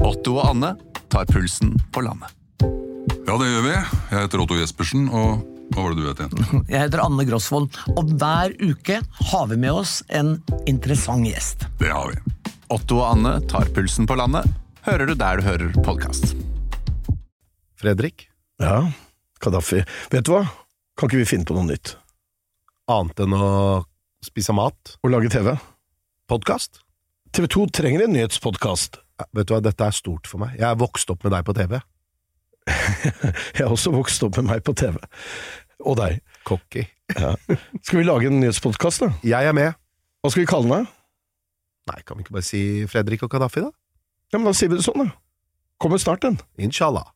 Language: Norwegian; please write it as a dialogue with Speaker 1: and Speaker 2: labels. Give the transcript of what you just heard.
Speaker 1: Otto og Anne tar pulsen på landet.
Speaker 2: Ja, det gjør vi. Jeg heter Otto Jespersen, og hva var det du het igjen?
Speaker 3: Jeg heter Anne Grosvold, og hver uke har vi med oss en interessant gjest.
Speaker 2: Det har vi.
Speaker 1: Otto og Anne tar pulsen på landet, hører du der du hører podkast.
Speaker 4: Fredrik?
Speaker 5: Ja, Kadafi. Vet du hva? Kan ikke vi finne på noe nytt?
Speaker 4: Annet enn å spise mat?
Speaker 5: Å lage TV?
Speaker 4: Podkast?
Speaker 5: TV 2 trenger en nyhetspodkast.
Speaker 4: Ja, vet du hva, dette er stort for meg. Jeg er vokst opp med deg på TV.
Speaker 5: Jeg har også vokst opp med meg på TV. Og deg.
Speaker 4: Cocky.
Speaker 5: Skal vi lage en nyhetspodkast, da?
Speaker 4: Jeg er med.
Speaker 5: Hva skal vi kalle den? da?
Speaker 4: Nei, kan vi ikke bare si Fredrik og Kadafi, da?
Speaker 5: Ja, men Da sier vi det sånn, da. Kommer snart en.
Speaker 4: Inshallah.